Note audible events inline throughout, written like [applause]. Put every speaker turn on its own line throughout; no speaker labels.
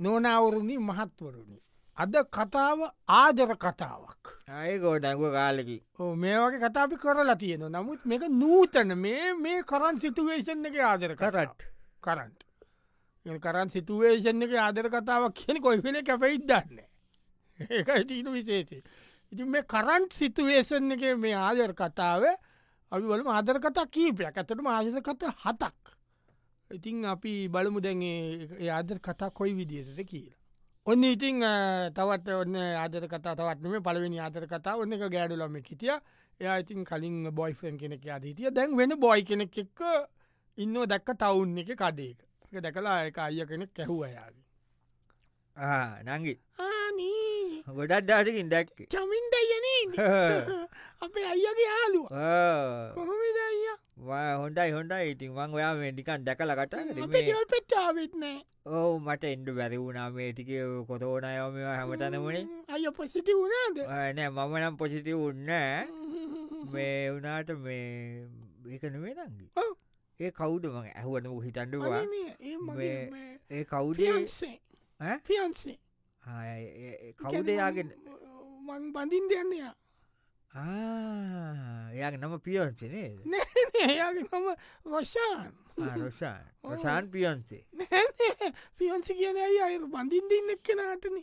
නොනවුරුණි මහත්වරුණි. අද කතාව ආදර කතාවක්.
අය ගෝඩැගුව කාලෙකි
ඔව් මේ වගේ කතාපි කරලා තියෙන නමුත් මේක නූතන මේ මේ කරන් සිතුවේෂන් එක ආදර
කරට්.
කරන්ට. කරන් සිතුවේෂන් එක ආදර කතාවක් කියෙන කොයිවෙන කැපයිත් දන්න. ඒකයි තිීන විශේෂේ. ඉතින් මේ කරන්ට් සිතුවේෂන් එක මේ ආදර කතාව අවිවලම ආදර කතා කීපයක් ඇතට ආදර කත හතක්. ඉතින් අපි බලමු දැන්ඒ ආදර කතා කොයි විදිරට කියලා. ඔන්න ඉතිං අ, තවත් ඔන්න ආදර කතා තවත්න මේ පලවෙනි ආදර කතා ඔන්න එක ගෑඩුලම හිටිය එයා ඉතින් කලින් බොයිෆන් කෙනෙක් අද හිටිය දැන් වෙන බොයි කෙනෙක් එක්ක ඉන්න දැක්ක තවුන් එක කඩේක එක දැකලා එක අය කෙනෙක් කැහුව යාගේ
නංගි
ආනී
ගොඩක් දාටකින් දැක්ක [laughs]
චමින් දයන [laughs] අපේ අයගේ යාලුව කොහොමද අයියා
හොන්ඩයි හොන්ඩයි ඉතින් වන් ඔයා මේටිකන් දැකල
අපේ
කටා
ගෙවල් පෙට්ටාවෙත්නෑ
ඕ මට එන්ඩු බැරි වුණා මේටික කොතෝනයම හැමතනමුණේ
අය පොසිටි වුණාද
නෑ මම නම් පොසිති උන්න මේ වනාට මේ එකනවේ නංගි
ඔව්.
ඒ කවුඩ ම ඇහුවන හිතන්ඩුවා
අනේ, ඒ මගේ
මේ-
මේ
ඒ කවුඩේ
fiance.
ඈ?
fiance.
කවුදයාගෙන
මං බඳින් දෙන්නේය
එයා නම පියොන්සේ
එයාගේ මම රොෂාන්
රොෂා රොසාන් පියොන්සේ
ෆියන්සි කියන ඇයි අය බඳින් දෙන්න කෙනාටන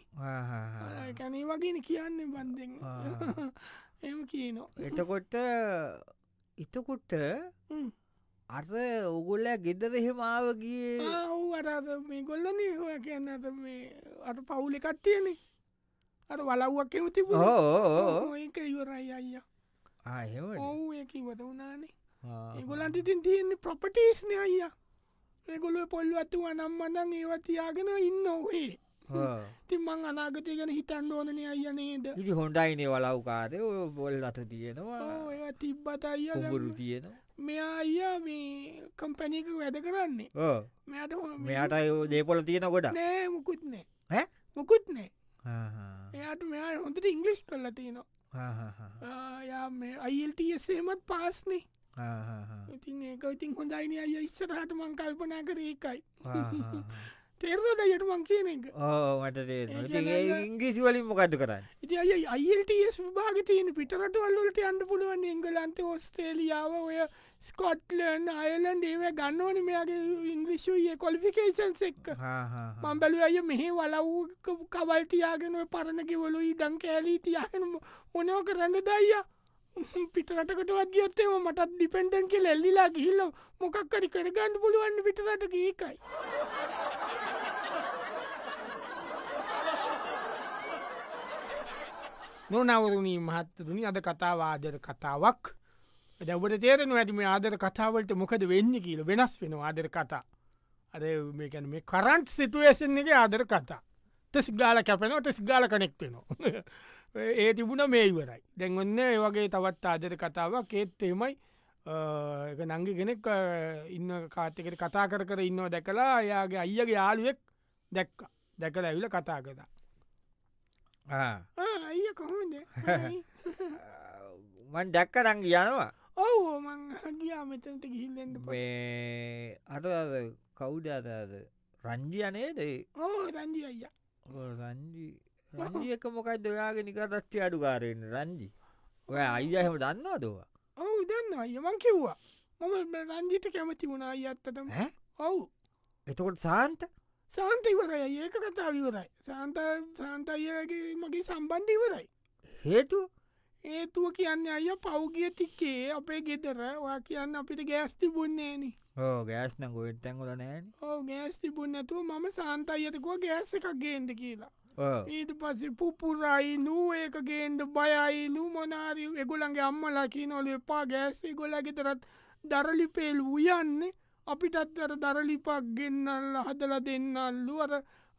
කැනේ වගෙන කියන්නේ බන්ධෙන් [laughs]
ආ.
එම කියනවා
එතකොට ඉතකුට
හ්ම්.
අර ඔගුල්ල ගෙදර හෙමාවගේ
ඔව් අරාද මේ ගොල්ලන හොය කියන්න අද මේ අට පවුලි කට්ටියනේ අර වලව්වක් එම තිබ
ඕ
ඒක ඉවරයි අයිය
ආහෙම
ඔව් ඒක ඉවත වනානේ ඒගොලන්ට ඉතින් තියෙන්නේ ප්‍රොපටේස්න අයිය ඒගොල පොල්ල අතුව නම්මනං ඒවතියාගෙන ඉන්න ඔහේ තින් මං අනාගතය ගැන හිතන්න ඕනන අයනේද
ඉති හොන්ඩයිනේ වලව්කාද ඔය බොල් අත තියෙනවා
ඒවා තිබ්බත අයිය
කුඹුරු තියෙනවා
මෙයා අයියා මේ කම්පැනීක වැඩ කරන්නේ
ඕ,
මෙයාට හො-
මෙයාට අයෝ දේපොල තියෙන ගොඩ
නෑ මුකුත් නෑ
ඈ?
මුකුත් නෑ එයාට මෙයා හොඳට ඉංගලිස්් කරලා තියනවා යා මේ අයිල්ටසේමත් පාස්නේ ඉතින් ඒක ඉතින් හොඳයින අය ඉස්සරහට මං කල්පනා කර ඒකයි තේරෝද යට මං කියන එක
ඕ මට තේරෙනවා.
ඒ
ඉතින්
කියන්නේ
ඒ
අය-
ඉංග්‍රීසි වලින් මොකක්ද කරන්න
ඉති අය අයිල්ටස් විභාග තියෙන පිටරට වල්ලට අන්ඩ පුළුවන් ඉංගලන්ත ඔස්ට්‍රේලියාව ඔය ස්කොට්ලන් අයලන්ඩ ඒව ගන්නවන මෙයාගේ ඉංගලිෂුයේ කොලිෆිකේෂන් එක්ක මම්බැලි අය මෙහෙ වලව් කවල්තියාගෙන ඔය පරණකිවලු ඉඩං කෑලී තියාගෙන මො- මොනව කරන්න දයිය පිටරටකටවත් ගියොත්තේම මටත් ඩිපෙන්ඩන් කෙ එල්ලිලා ගිහිල්ල මොකක්කරි කරගන්න පුළුවන් පිටරට ගේකයි නොනවරුණී මහත්තරුණි අද කතාව ආදර කතාවක් දැවට තේරෙන ඇටම ආදර කතාවලට මොකද වෙන්න කියල වෙනස් වෙන ආදර කතා අද මේකැන මේ කරන්ට් සිතුවේසන් එක ආදර කතා ටෙස් ගාල කැපෙනවා ටෙස් ගාල කනෙක්ටෙනවා [laughs] ඒ තිබුණ මේවරයි දැන්වන්න ඒ වගේ තවත් ආදර කතාවක් ඒත් එමයි නංගි කෙනෙක් අ, ඉන්න කාතකට කතා කර කර ඉන්නවා දැකලා එයාගේ අයියගේ යාලුවෙක් දැක්ක දැකල ඇවිල කතා කතා ආ, අයිය කොහොමද හයි.
මන් දැක්ක රංග යනවා
ඔව් මං ගියා මෙතනට ගිහිල්ලෙන්ට
මේ අත කවුද අතද රංජියනේ දේ
ඕ රන්දි අයිය
රංජි රංජියක මොකයිද ඔයාගෙන නිකටත්ති අඩුකාරයෙන් රංජි ඔය අයියහම දන්නවා දවා
ඔවු දන්න අය මං කිව්වා මම රංජිට කැමති වුණා අයි අත්තටම
ඈ?
ඔවු
එතකොට සාන්ත
සාන්තයිවරය ඒක කතා විවරයි සාන්ත සාන්තයියගේ මගේ සම්බන්ධීවරයි
හේතු
ඒතුව කියන්න අය පෞගිය තික්කේ අපේ ගෙතර ඔයා කියන්න අපිට ගෑස්ති බුන්නේන
ඕ ගෑස්න ගොත් තැන්ගොල නෑන
ඕ ගෑස්ති බුන්නතුව මම සාන්තයියටකුව ගෑස්ස එකක් ගේන්ද කියලා ඊට පස්සේ පුපුරයි නූ ඒක ගේන්ද බයයි නූ මොනාරි එගොලන්ගේ අම්මලකි නොල එපා ගෑස්සේ ගොලගෙතරත් දරලිපේල් වයන්නේ අපිටත් අර දරලිපක් ගෙන්න්නල්ල හදල දෙන්නල්ලු අර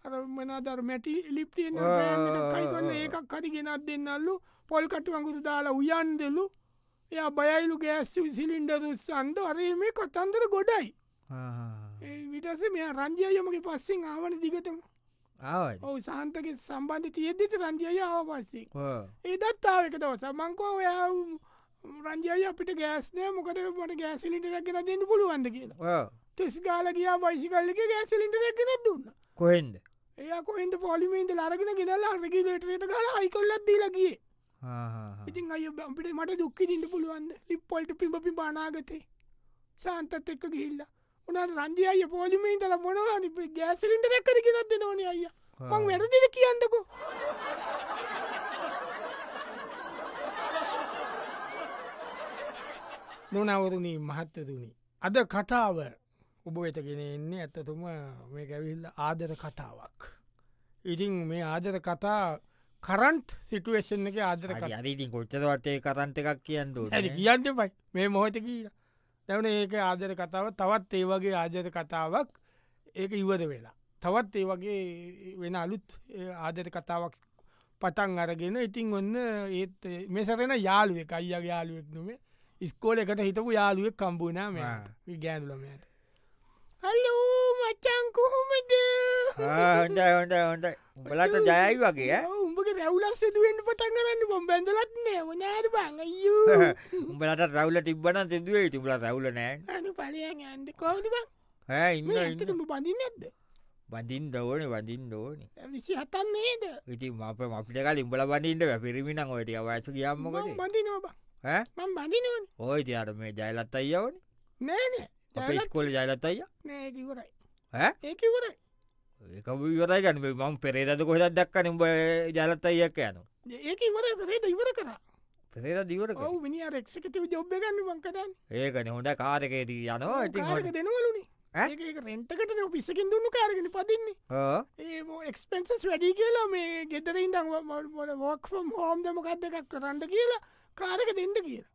අර මනාදර මැටි ලිප්තියෙන්
ආ, ආ, ආ,
කයිගන්න
ආ.
ඒකක් කරි ගෙනත් දෙන්නල්ලු පොල්කටු අඟුරු දාලා උයන්දෙලු එය බයයිලු ගෑස්සු සිලින්ඩරුස් සන්ද අරේ මේ කොත්තන්දර ගොඩයි ඒ විටස මෙ රංජයමගේ පස්සෙන් ආවන දිගතම
ආවද
ඔවු සහන්තක සම්බන්ධ තියෙද්දිත රංජය ආව පස්සේ ඒදත්තාව එක දවස මංකෝ ඔයා රංජය අපිට ගෑස්නය මොකද මට ගෑසිලිට දැක්ෙන දෙන්න පුළුවන්ද කියලා
ඕ
තෙස් ගාල ගියා පයිසි කල්ලක ගෑසිලිට දැක්ෙන දුන්න
කොහෙන්ද
ඒ එයකොහෙන්ට පොලිමේන්ද ලාරගෙන ගෙනලා රෙගිලේටරේට කල අයිකොල්ලත් දීලගිය ඉතින් අය බම්පිට මට දුක්කිදින්න පුළුවන්ද ලිප්පොල්ට පිඹපි බානාගතේ සාන්තත් එක්ක ගිල්ල උනාට රන්ජි අය පොලිමේන්දල මොනවා ගෑසිලින්ට දැක්කර ගෙනත් දෙනවන අය මං වැරදිද කියන්නකෝ නොනවරුණී මහත්තතුනි අද කතාව ඔබ වෙතගෙන එන්නේ ඇත්තතුම මේ ඇවිල්ල ආදර කතාවක් ඉතින් මේ ආදර කතා කරන්ට් සිටුවේෂන් එක ආදර කතා
යරිතින් කොච්චදවටේ කරන්ත එකක් කියන්න
ඇ කියන්න පයි මේ මොහොත කියලා තැවන ඒක ආදර කතාව තවත් ඒ වගේ ආදර කතාවක් ඒක ඉවද වෙලා තවත් ඒ වගේ වෙන අලුත් ආදර කතාවක් පටන් අරගෙන ඉතින් ඔන්න ඒත් මෙසරෙන යාළුවෙක් අයිය යාළුවෙක් නොමේ ඉස්කෝල එකට හිතපු යාළුවෙක් කම්බුණම ගෑනුලමයට හල්ලෝ මචන් කොහොමද
හොඳ හොඳ හොඳ උඹලට ජයයි වගේ ඈ?
උඹගේ රැවුලස් දුවෙන්ට පටන් කරන්න බොම් බැඳලත් නෑ වනාද බං අයෝ
[laughs] උඹලට රවුල තිබන තිදුවේ තිබල රවුල නෑ
අනු පලයන් ඇන්ද කෝද බං
හැ ඉන්න
මේ
ඉන්න.
ඇතතුම බඳින් ඇත්ද
බඳින් දෝන වදින් දෝන
විසි හතන් නේද
ඉති අප අපිට කල ඉඹල බඳින්ට පිරිමින ඔයටක වයස කියම්මකද
බඳිනෝබ මං බඳිනවන
ඕයි තියාට මේ ජයලත් අයියවන
නෑනෑ
අප ස්කොල ජයලත් අයිය
නෑකිවරයි
ඈ?
ඒකිවරයි
එකවිවරයි ගන්න මං පෙරේද කොහෙද දක්කන උඹ ජලත් අයියක් යන
ඒකිවර කරේද ඉවර කර
පෙරේද දිවර
ඔව මිනි රක්ෂකතව ජොබ්ගන්න මංකදන්න
ඒකන හොඳ කාරකයේදී යනවා ඉති
කාරක දෙනවලුනේ
ඈ?
ඒක රෙන්ටකට ද පිසකින් දුන්නු කාරගෙන පතින්නේ
Oh.
ඒ එක්ස්පෙන්න්සස් වැඩි කියලා මේ ගෙතරින් දමට වොක්ම් හෝම් දමකක්දකක් කරන්න කියලා කාරක දෙන්න කියලා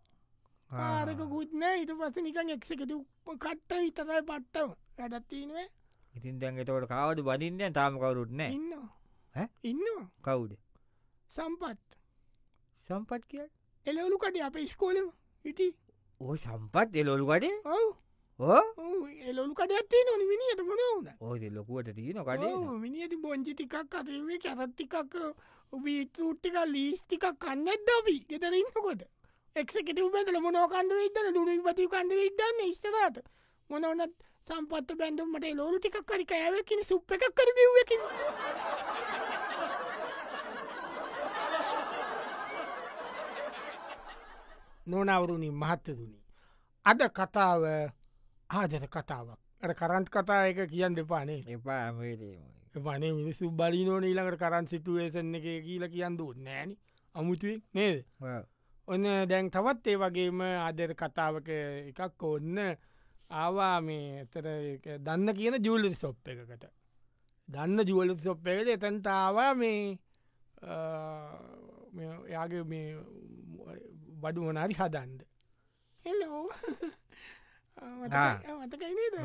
Ah.
කාරක ගුත්නෑ හිට පස නිකන් එක්සකතු කට්ට හිතකයි පත්තව වැඩත්තිීනේ
ඉතින් දැන් එතවට කාවද බඳින්ය තාම කවරුත් නෑ
ඉන්න
ඈ?
ඉන්න
කවුද
සම්පත්
සම්පත් කිය
එලවලු කට අප ස්කෝලම ඉටි
ඕ සම්පත් එලොලු කඩේ
ඔව්
ඕ
ඔව් එලොලු කටයත්තේ නොන මිනිියට මොන ඕන
ඕයි ලොකුවට තියන කඩේ
මිනිියති බොංචි ටිකක් අතේ කැරත්තිකක් බීතෘට්ටික ලීස්ටිකක් කන්නත් දවී ගෙතර ඉන්නකොට එක්සකට උබැදල මොනෝකන්ඩ ඉදන්න දුනු පති කන්ඩ ඉදන්න ඉස්සරට මොනවනත් සම්පත්ත බැඳුම්මට ලෝරු ටිකක් කරි කෑවකින සුප් එකක් කර බිව්වකින් නොනවරුණින් මහත්තදුනි අද කතාව ආදර කතාවක් අර කරන්ට් කතා එක කියන්න දෙපානේ
එපා ඇමේරීම
වනේ මිනිස්සු බලිනෝන ඊළඟට කරන් සිටුවේසන්න එක කියල කියන්න දුත් නෑන අමුතුවෙක් නේද ඔන්න දැන් තවත් ඒ වගේම අදර කතාවක එකක් ඔන්න ආවා මේ එතර ඒක දන්න කියන ජූලි සොප් එකකට දන්න ජුවලි සොප්පේද එතැන්තාවා මේ අ, මේ එයාගේ මේ බඩු වනාරි හදන්ද [laughs] හෙලෝ
ආ.
මතකයිනේද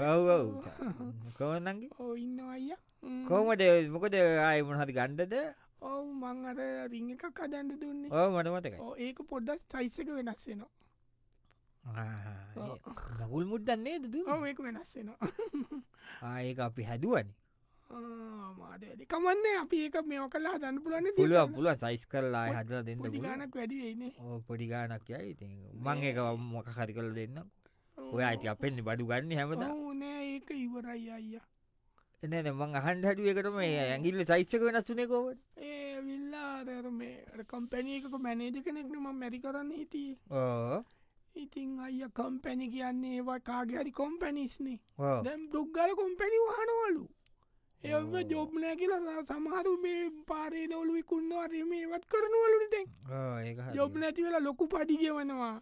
කෝනගේ
ඕ ඉන්න අයිය
කෝමට මොකද ආය මොහත් ගණ්ඩද
ඔවු මං අර රිං එකක් අදන්ද දුන්නේ
ඕ මට මතකයි
ඕ ඒක පොඩ්ඩක් සයිසක වෙනස්සෙනවා ඔව්.
ගුල් මුද්දන්නේ දු
ඔව ඒක වෙනස්සෙනවා
ආයක අපි හැදුවන
මාදදි කමන්නේ අපි ඒක මෙෝ කලා දන්න පුලන්න
පුළුව පුල සයිස් කරලා හදල දෙන්න
පොඩි ගානක් වැඩිවෙන්නේ
පොඩි ගානක්යයි ඉති මං ඒක මොක හරි කල දෙන්න ඔය අයිති අපෙන්නේ බඩු ගන්න හැමද
ඕනෑ ඒක ඉවරයි අයිය
එන මං අහන්ඩ හැඩුව එකටම මේ ඇගිල්ල සයිස්සක වෙනස්සුනේ කෝවට
ඒ විල්ලාදර මේ කම්පැනයකක මැනේජ කෙනෙක්නම මැරි කරන්න හිටිය
ඕ
ඉතින් අය කම්පැණි කියන්නේ ඒවා කාගහරි කොම්පැනිස්නේ
ඕ
දැම් දුක්ගල කොම්පැනි හනවලු එම
ඕ.
ජොබ්නෑ කියලා සමහරු මේ පාරේ දවලු විකුන්නවාරම ඒවත් කරනවලු දැන්
ඕ ඒක හරි.
ජොබ් නැති වෙලා ලොකු පඩිගවනවා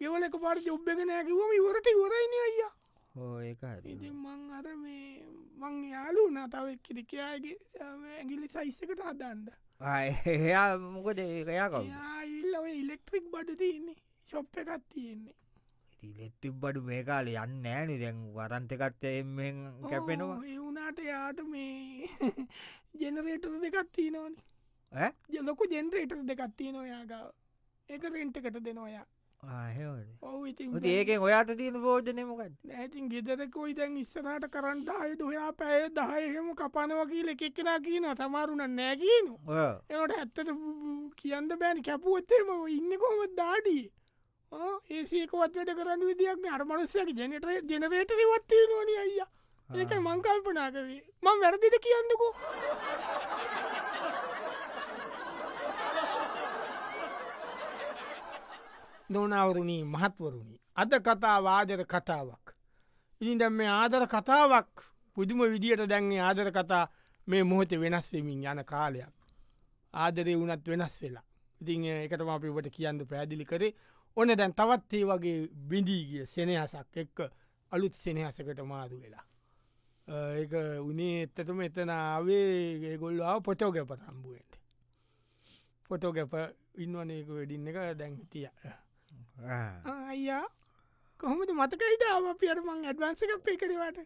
ගෙවල එක පාර ජොබ් එක නෑකිවම ඉවරට ඉවරයින අයියා
ඕ ඒක හරි.
ඉති මං අර මේ මං යාලු නතාවක් කිරිකයාගේ ඇගිලි සයිස්සකට හදන්ද
ආ, එයා මොකද ඒකයා කව
යාඉල්ල ඔය ඉලෙක්ට්‍රික් බඩතින්නේ ශොප්ප එකත් තියෙන්නේ
ලෙත්තිබ බඩු මේ කාලේ යන්න ෑනි දැන් වරන්තකත්ත එෙන් කැපෙනවා
ඕ, ඒ වුනාට යාට මේ [laughs] ජෙනරේටර දෙකත් තිීනවන
ඈ?
ජලොකු ජෙන්රේටර් දෙකත්තිී නොයාගාව එක රෙන්ටකට දෙනොයා
ආහෙවන
ඔව ඉති
ඒක ඔයාට තියෙන පෝජනය මොකත්
නැතින් ගෙදරකෝ ඉතැන් ඉස්සරට කරන්ට අයුතු ඔයා පැය දහයහෙම කපනවකිීල එකෙක්කෙනා කියන සමාරුණ නෑගීනු එවට ඇත්තට කියන්න බෑන කැපුවත්තේම ඉන්න කොම දාඩී ඒසේකවත් වැඩ කරන්න විදිියක් අර්මනුස්සයක ජනට ජනරේට දෙවත්තේ නොන අයිය ඒක මංකල්පනා කරේ මං වැරදිද කියන්නකෝ නොනවරුණී මහත්වරුණි. අද කතා වාදර කතාවක්. ඉනිද මේ ආදර කතාවක් පුදුම විදිහට දැන්ගේ ආදර කතා මේ මොහොත වෙනස්වෙමින් යන කාලයක්. ආදරේ වනත් වෙනස් වෙලා. ඉතින් එකටම අපි ඔබට කියන්න පැදිලි කරේ ඕන දැන් තවත් ඒ වගේ බිඳීගිය සෙනහසක් එක්ක අලුත් සෙනහසකට මාදු වෙලා. ඒ උනේ එත්තටම එතනාවේ ගොල්ලාව පොටෝගැප තම්බුවෙන්ට. පොටෝගැප ඉන්නවනක වැඩින්න එක දැන් තිය අයියා කොහොමද මතකයිදාව පියට මං ඇඩවන්සක පෙකරවට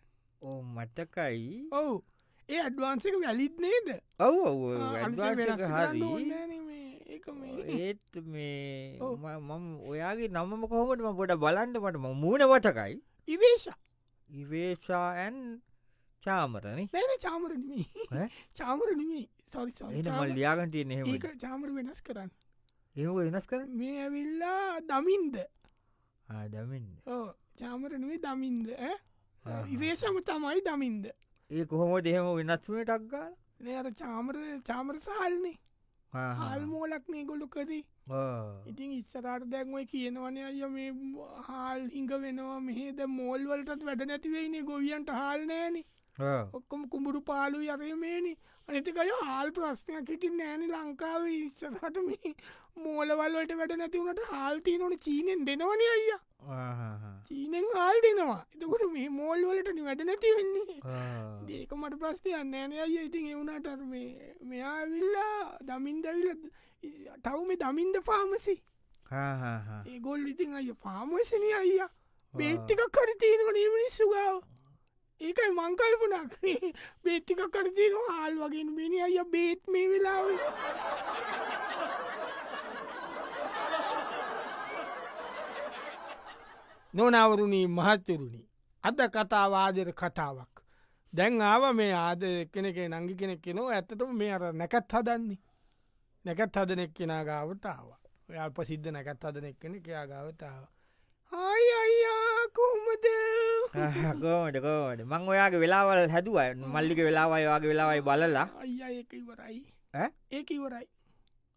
ඕ මටකයි
ඔවු ඒ ඇඩවන්සක වැලිත් නේද
ඔව
හරි
ඒත් මේ
ඔව්.
ම- මම ඔයාගේ නම්ම කොහොමටම පොඩ බලන්ටමට ම මූුණ වටකයි
ඉවේශ
ඉවේශාඇන් චාමරන
නැන චාමරනමී
ඈ?
චාමරනමී සොරි
එමල් ලියාගන්ටය නෙම
ඒක චාමර වෙනස් කරන්න
ඒ වෙනස් කර
මේ ඇවිල්ලා දමින්ද
ආදමන්න
ඕ චාමරනවේ දමින්ද ඈ?
ආහා.
ඉවේශම තමයි දමින්ද
ඒ කොහොම දෙහෙම වෙනස්ුනේ ටක්ගාල
නෑර චාමර චාමර සහල්නේ හල්මෝලක් මේ ගොලු කරී ඉතින් ඉස්සරට දැක්මයි කියනවන අය මේ හාල් හිඟ වෙනවා මෙහෙද මෝල්වලටත් වැඩ නැතිවෙයිනේ ගොවියන්ට හාල් නෑන ඔක්කොම කුඹුරු පාලු යරයමේනි අනතිකය හාල් ප්‍රශ්නයක් හිටි නෑන ලංකාව ඉස්සරට මේ මෝලවල්වලට වැඩ නැතිවුණට හාල්තිී නොට චීනෙන් දෙනවන අය චීනෙන් හාල් දෙනවා එතකොට මේ මෝල්වලට වැඩ නැතිවෙන්නේ ඒක මට ප්‍රස්තියන් නෑන අය ඉතින් එවුණට මේ මෙයා විල්ලා දමින්දවිල්ල තවුම දමින්ද පාමසි ඒගොල් ඉතින් අය පාමසන අයිය බේත්තික කරතියනක නීමනි සුගාව ඒකයි මංකල්පනක් බේත්තික කරතියන හල් වගේ මිනි අය බේත් මේ වෙලාව නොනවරුණී මහත්තරුණි අද කතාවාදර කතාවක් දැන් ආව මේ ආද කෙනෙක නංගි කෙනෙක් කෙනෝ ඇත්තටම මේ අර නැකත් හදන්නේ නැකත් හදනෙක් කෙනා ගාවතාව ඔයා ප්‍රසිද්ධ නැකත් හදනෙක් කෙන කයා ගාවතාව හයි අයියා කොහොමද
ගෝඩකෝට මං ඔයාගේ වෙලාවල් හැදුව මල්ලික වෙලාවයි වගේ වෙලාවයි බලලා
අයියා ඒක ඉවරයි
ඈ?
ඒක ඉවරයි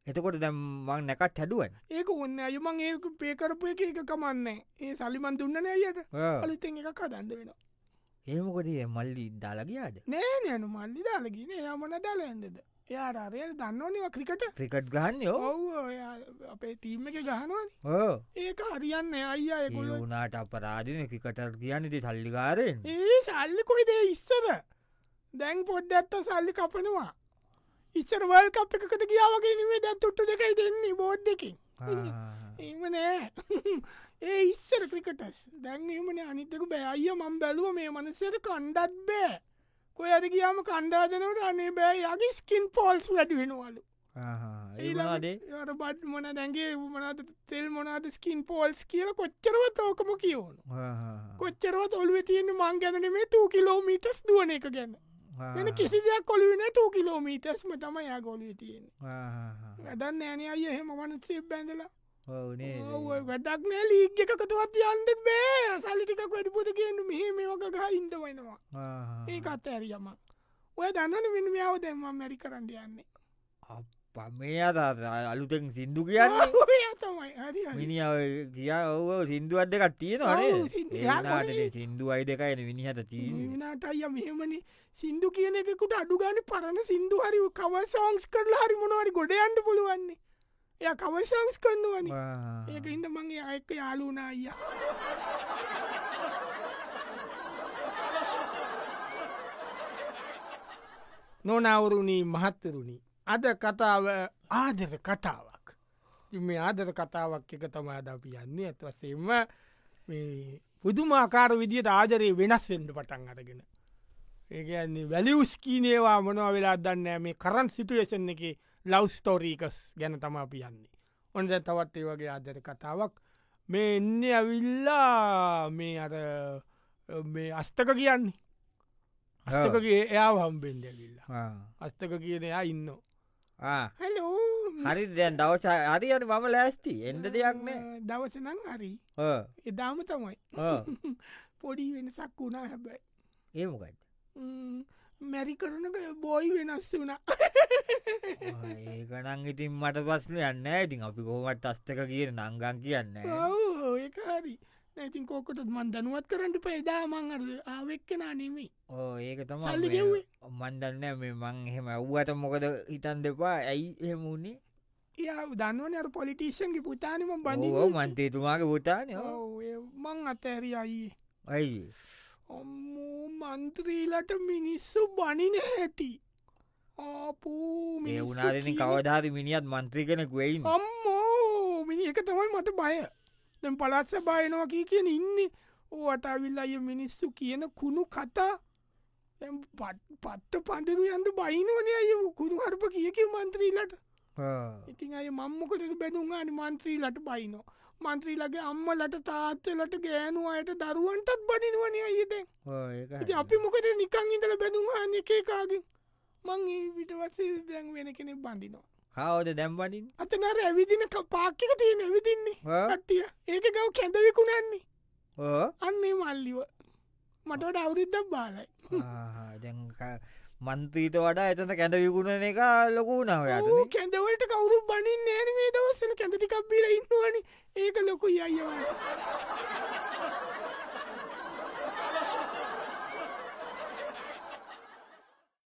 එතකොට දැම් මං නැකත් හැදුවන්
ඒක ඔන්න අයුමං ඒ පේකරපු එක එක කමන්නේ ඒ සලිමන් දුන්නන අයට අලිතෙන් එක කදන්ද වෙන
ඒමකොටේ මල්ලි දාලගයාද
නෑ නෑනු මල්ලි දාලගෙන යමන දාල ඇන්දද එයා අරය දන්නවනිව ක්‍රිකට
ප්‍රිකට් ගන්නයෝ
ඔව් එයා අපේ තීම එක ගහනවන
ඕ
ඒක හරියන්න අයියා එකොල
ඒවුනාට අපරාධන ක්‍රිකටර් කියන්නති සල්ලිකාරයෙන්
ඒ සල්ලි කොයිදේ ඉස්සර දැන් පොඩ්ඩ ඇත්ත සල්ලි කපනවා ඉස්සර වල් කප් එකකට කියාවගේ නේ දැත් තුට්ට දෙකයි දෙන්නේ බෝඩ් එකින් එම නෑ ඒ ඉස්සර ක්‍රිකටස් දැන් එමන අනිතක බෑය මං බැලුව මේ මනසට කණ්ඩත් බෑ කොය අද කියාම කණ්ඩාදනට අනේ බෑ යගේ ස්කින් පෝල්ස් වැඩුවෙනවලු
ඒලාදේ
ර බට් මොන දැන්ගේ මනත තෙල් මොනාද ස්කින් පෝල්ස් කියල කොච්චරවත් ඕකම කියවුණු කොච්චරවත් ඔළුව තියෙන මං ගැන මේ තු කිලෝමීටස් දුවන එක ගැන වෙන කිසි දෙයක් කොලිවෙන තු කිලෝමීටස්ම තම යා ගොලිය තියෙන්නේ වැඩන්න ෑන අය එහෙම වනසේ බැඳලා
ඕනේ
ඔය වැඩක් නෑ ලීග් එකකතුවත් යන්ද බෑ සල්ලිටිකක් වැඩිපුද කියන්න මෙහ මේ වගහ ඉන්ද වෙනවා ඒ අත් ඇර යමක් ඔය දන්න මිනිමියාව දැම්ම මැරි කරන්න යන්නේ
පමේ අත අලුතෙන් සින්දු කියන්න
ඔය තමයි හරි හරි.
මිනිාව කියා ඔව සින්දුවත් දෙකක් තියෙන අනේ
ඔව් සින්දු- යා
ඒලාට
කොහේ?
සින්දු අයි දෙකයින මිනිහත තිීන
විනාට අය මෙහෙමන සින්දු කියන එකකුට අඩුගාන පරණ සින්දු හරි කව සෝංස් කරලා හරි මොනවරි ගොඩයන්ට පුළුවන්නේ එය කවශංස් කරන්නුවන ඒක ඉද මගේ අයක යාලුනා අයිය නොනවරුණී මහත්තරුණි අද කතාව ආදර කතාවක් ඉතින් මේ ආදර කතාවක් එක තමා ද පියන්නේ ඇත්වසේම මේ පුදුමාකාර විදියට ආදරයේ වෙනස් වෙන්ඩ පටන් අරගෙන ඒකන්නේ වැලිවස් කීනේවා මොනව වෙලා දන්න මේ කරන් සිටුවේෂන් එක ලවස්තෝරීකස් ගැන තම පියන්නේ ඔොන්ද තවත් ඒ වගේ ආදර කතාවක් මේ එන්න ඇවිල්ලා මේ අර අ, මේ අස්තක කියන්නේ අස්තකගේ එයා හම්බෙන්ඩ ඇවිල්ලා අස්තක කියන එයා ඉන්න හැලෝ
හරි දැන් දවස හරි අර මම ලෑස්ති එන්ද දෙයක් නෑ
දවසනං හරි
ඕ,
එදාම තමයි
ඕ.
පොඩි වෙනසක් වුණා හැබැයි
ඒමකත්
ම්ම්. මැරි කරනක බෝයි වෙනස් වුණ
ඒකනං ඉතින් මට පස්සල යන්න ඉතින් අපි කොහොමත් අස්තක කිය නංගන් කියන්න
ඒකාරි නැතින් කෝකට මන් දනුවත් කරන්නට පේදා මං අර ආවෙක්කෙනා නෙමේ
ඕ ඒක තම
සල්ලි ගෙව්වේ.
මන්දන්න මේ මං එහෙම ඇව්වට මොකද හිතන් දෙපා ඇයි එහෙමුණේ
ඒ දන්නවන අර පොලිටේෂන්ගේ පුතානම බඳ
බඳෝ මන්තේතුමාගේ පුතානය
Oh, eh, මං අතඇරි අයියේ
ඇයි
අම්මෝ මන්ත්‍රීලට මිනිස්සු බනින හැටි ආපූ
මේ වුනාරෙන කවධාරි මිනිියත් මන්ත්‍රී කෙනෙක් වෙයින්
අම්මෝ මිනි එක තමයි මට බය දැම් පලත්ස බයනවාකී කියෙන් ඉන්නේ ඕට අවිල් අය මිනිස්සු කියන කුණු කතා දැන් පත්- පත්ත පන්දරු යන්ද බයිනෝනය අය කුණු හරප කියක මන්ත්‍රීලට ඉතින් අය මංමකද බැඳුන්ගනි මන්ත්‍රීලට බයිනෝ මන්ත්‍රීලගේ අම්මලට තාත්තලට ගෑනු අයට දරුවන්ටත් බනිනුවනය අයදැන් ඉතින් අපි මොකද නිකං ඉඳල බැඳුන්හන්න එකකාගෙන් මං ඒ විටවස්සේ දැන් වෙන කෙනෙ බඳිනවා
කවද දැම්බඩින්
අතනර ඇවිදින ක- පාක්කික තියෙන ඇවිදින්නේ කට්ටිය ඒක ගව කැඳවෙකුණන්නේ
ඕ
අන්නේ මල්ලිව මටට අවුරුද්දක් බාලයි
දැන් මන්ත්‍රීත වඩා එතන කැඳ විකුණන එක ලොකු
ඌ
නවයට
කැඳවලට කවුරු බනින් නෑන මේ දවස්සන කැඳටිකක් බිල ඉන්නවන ඒක ලොකු අයවට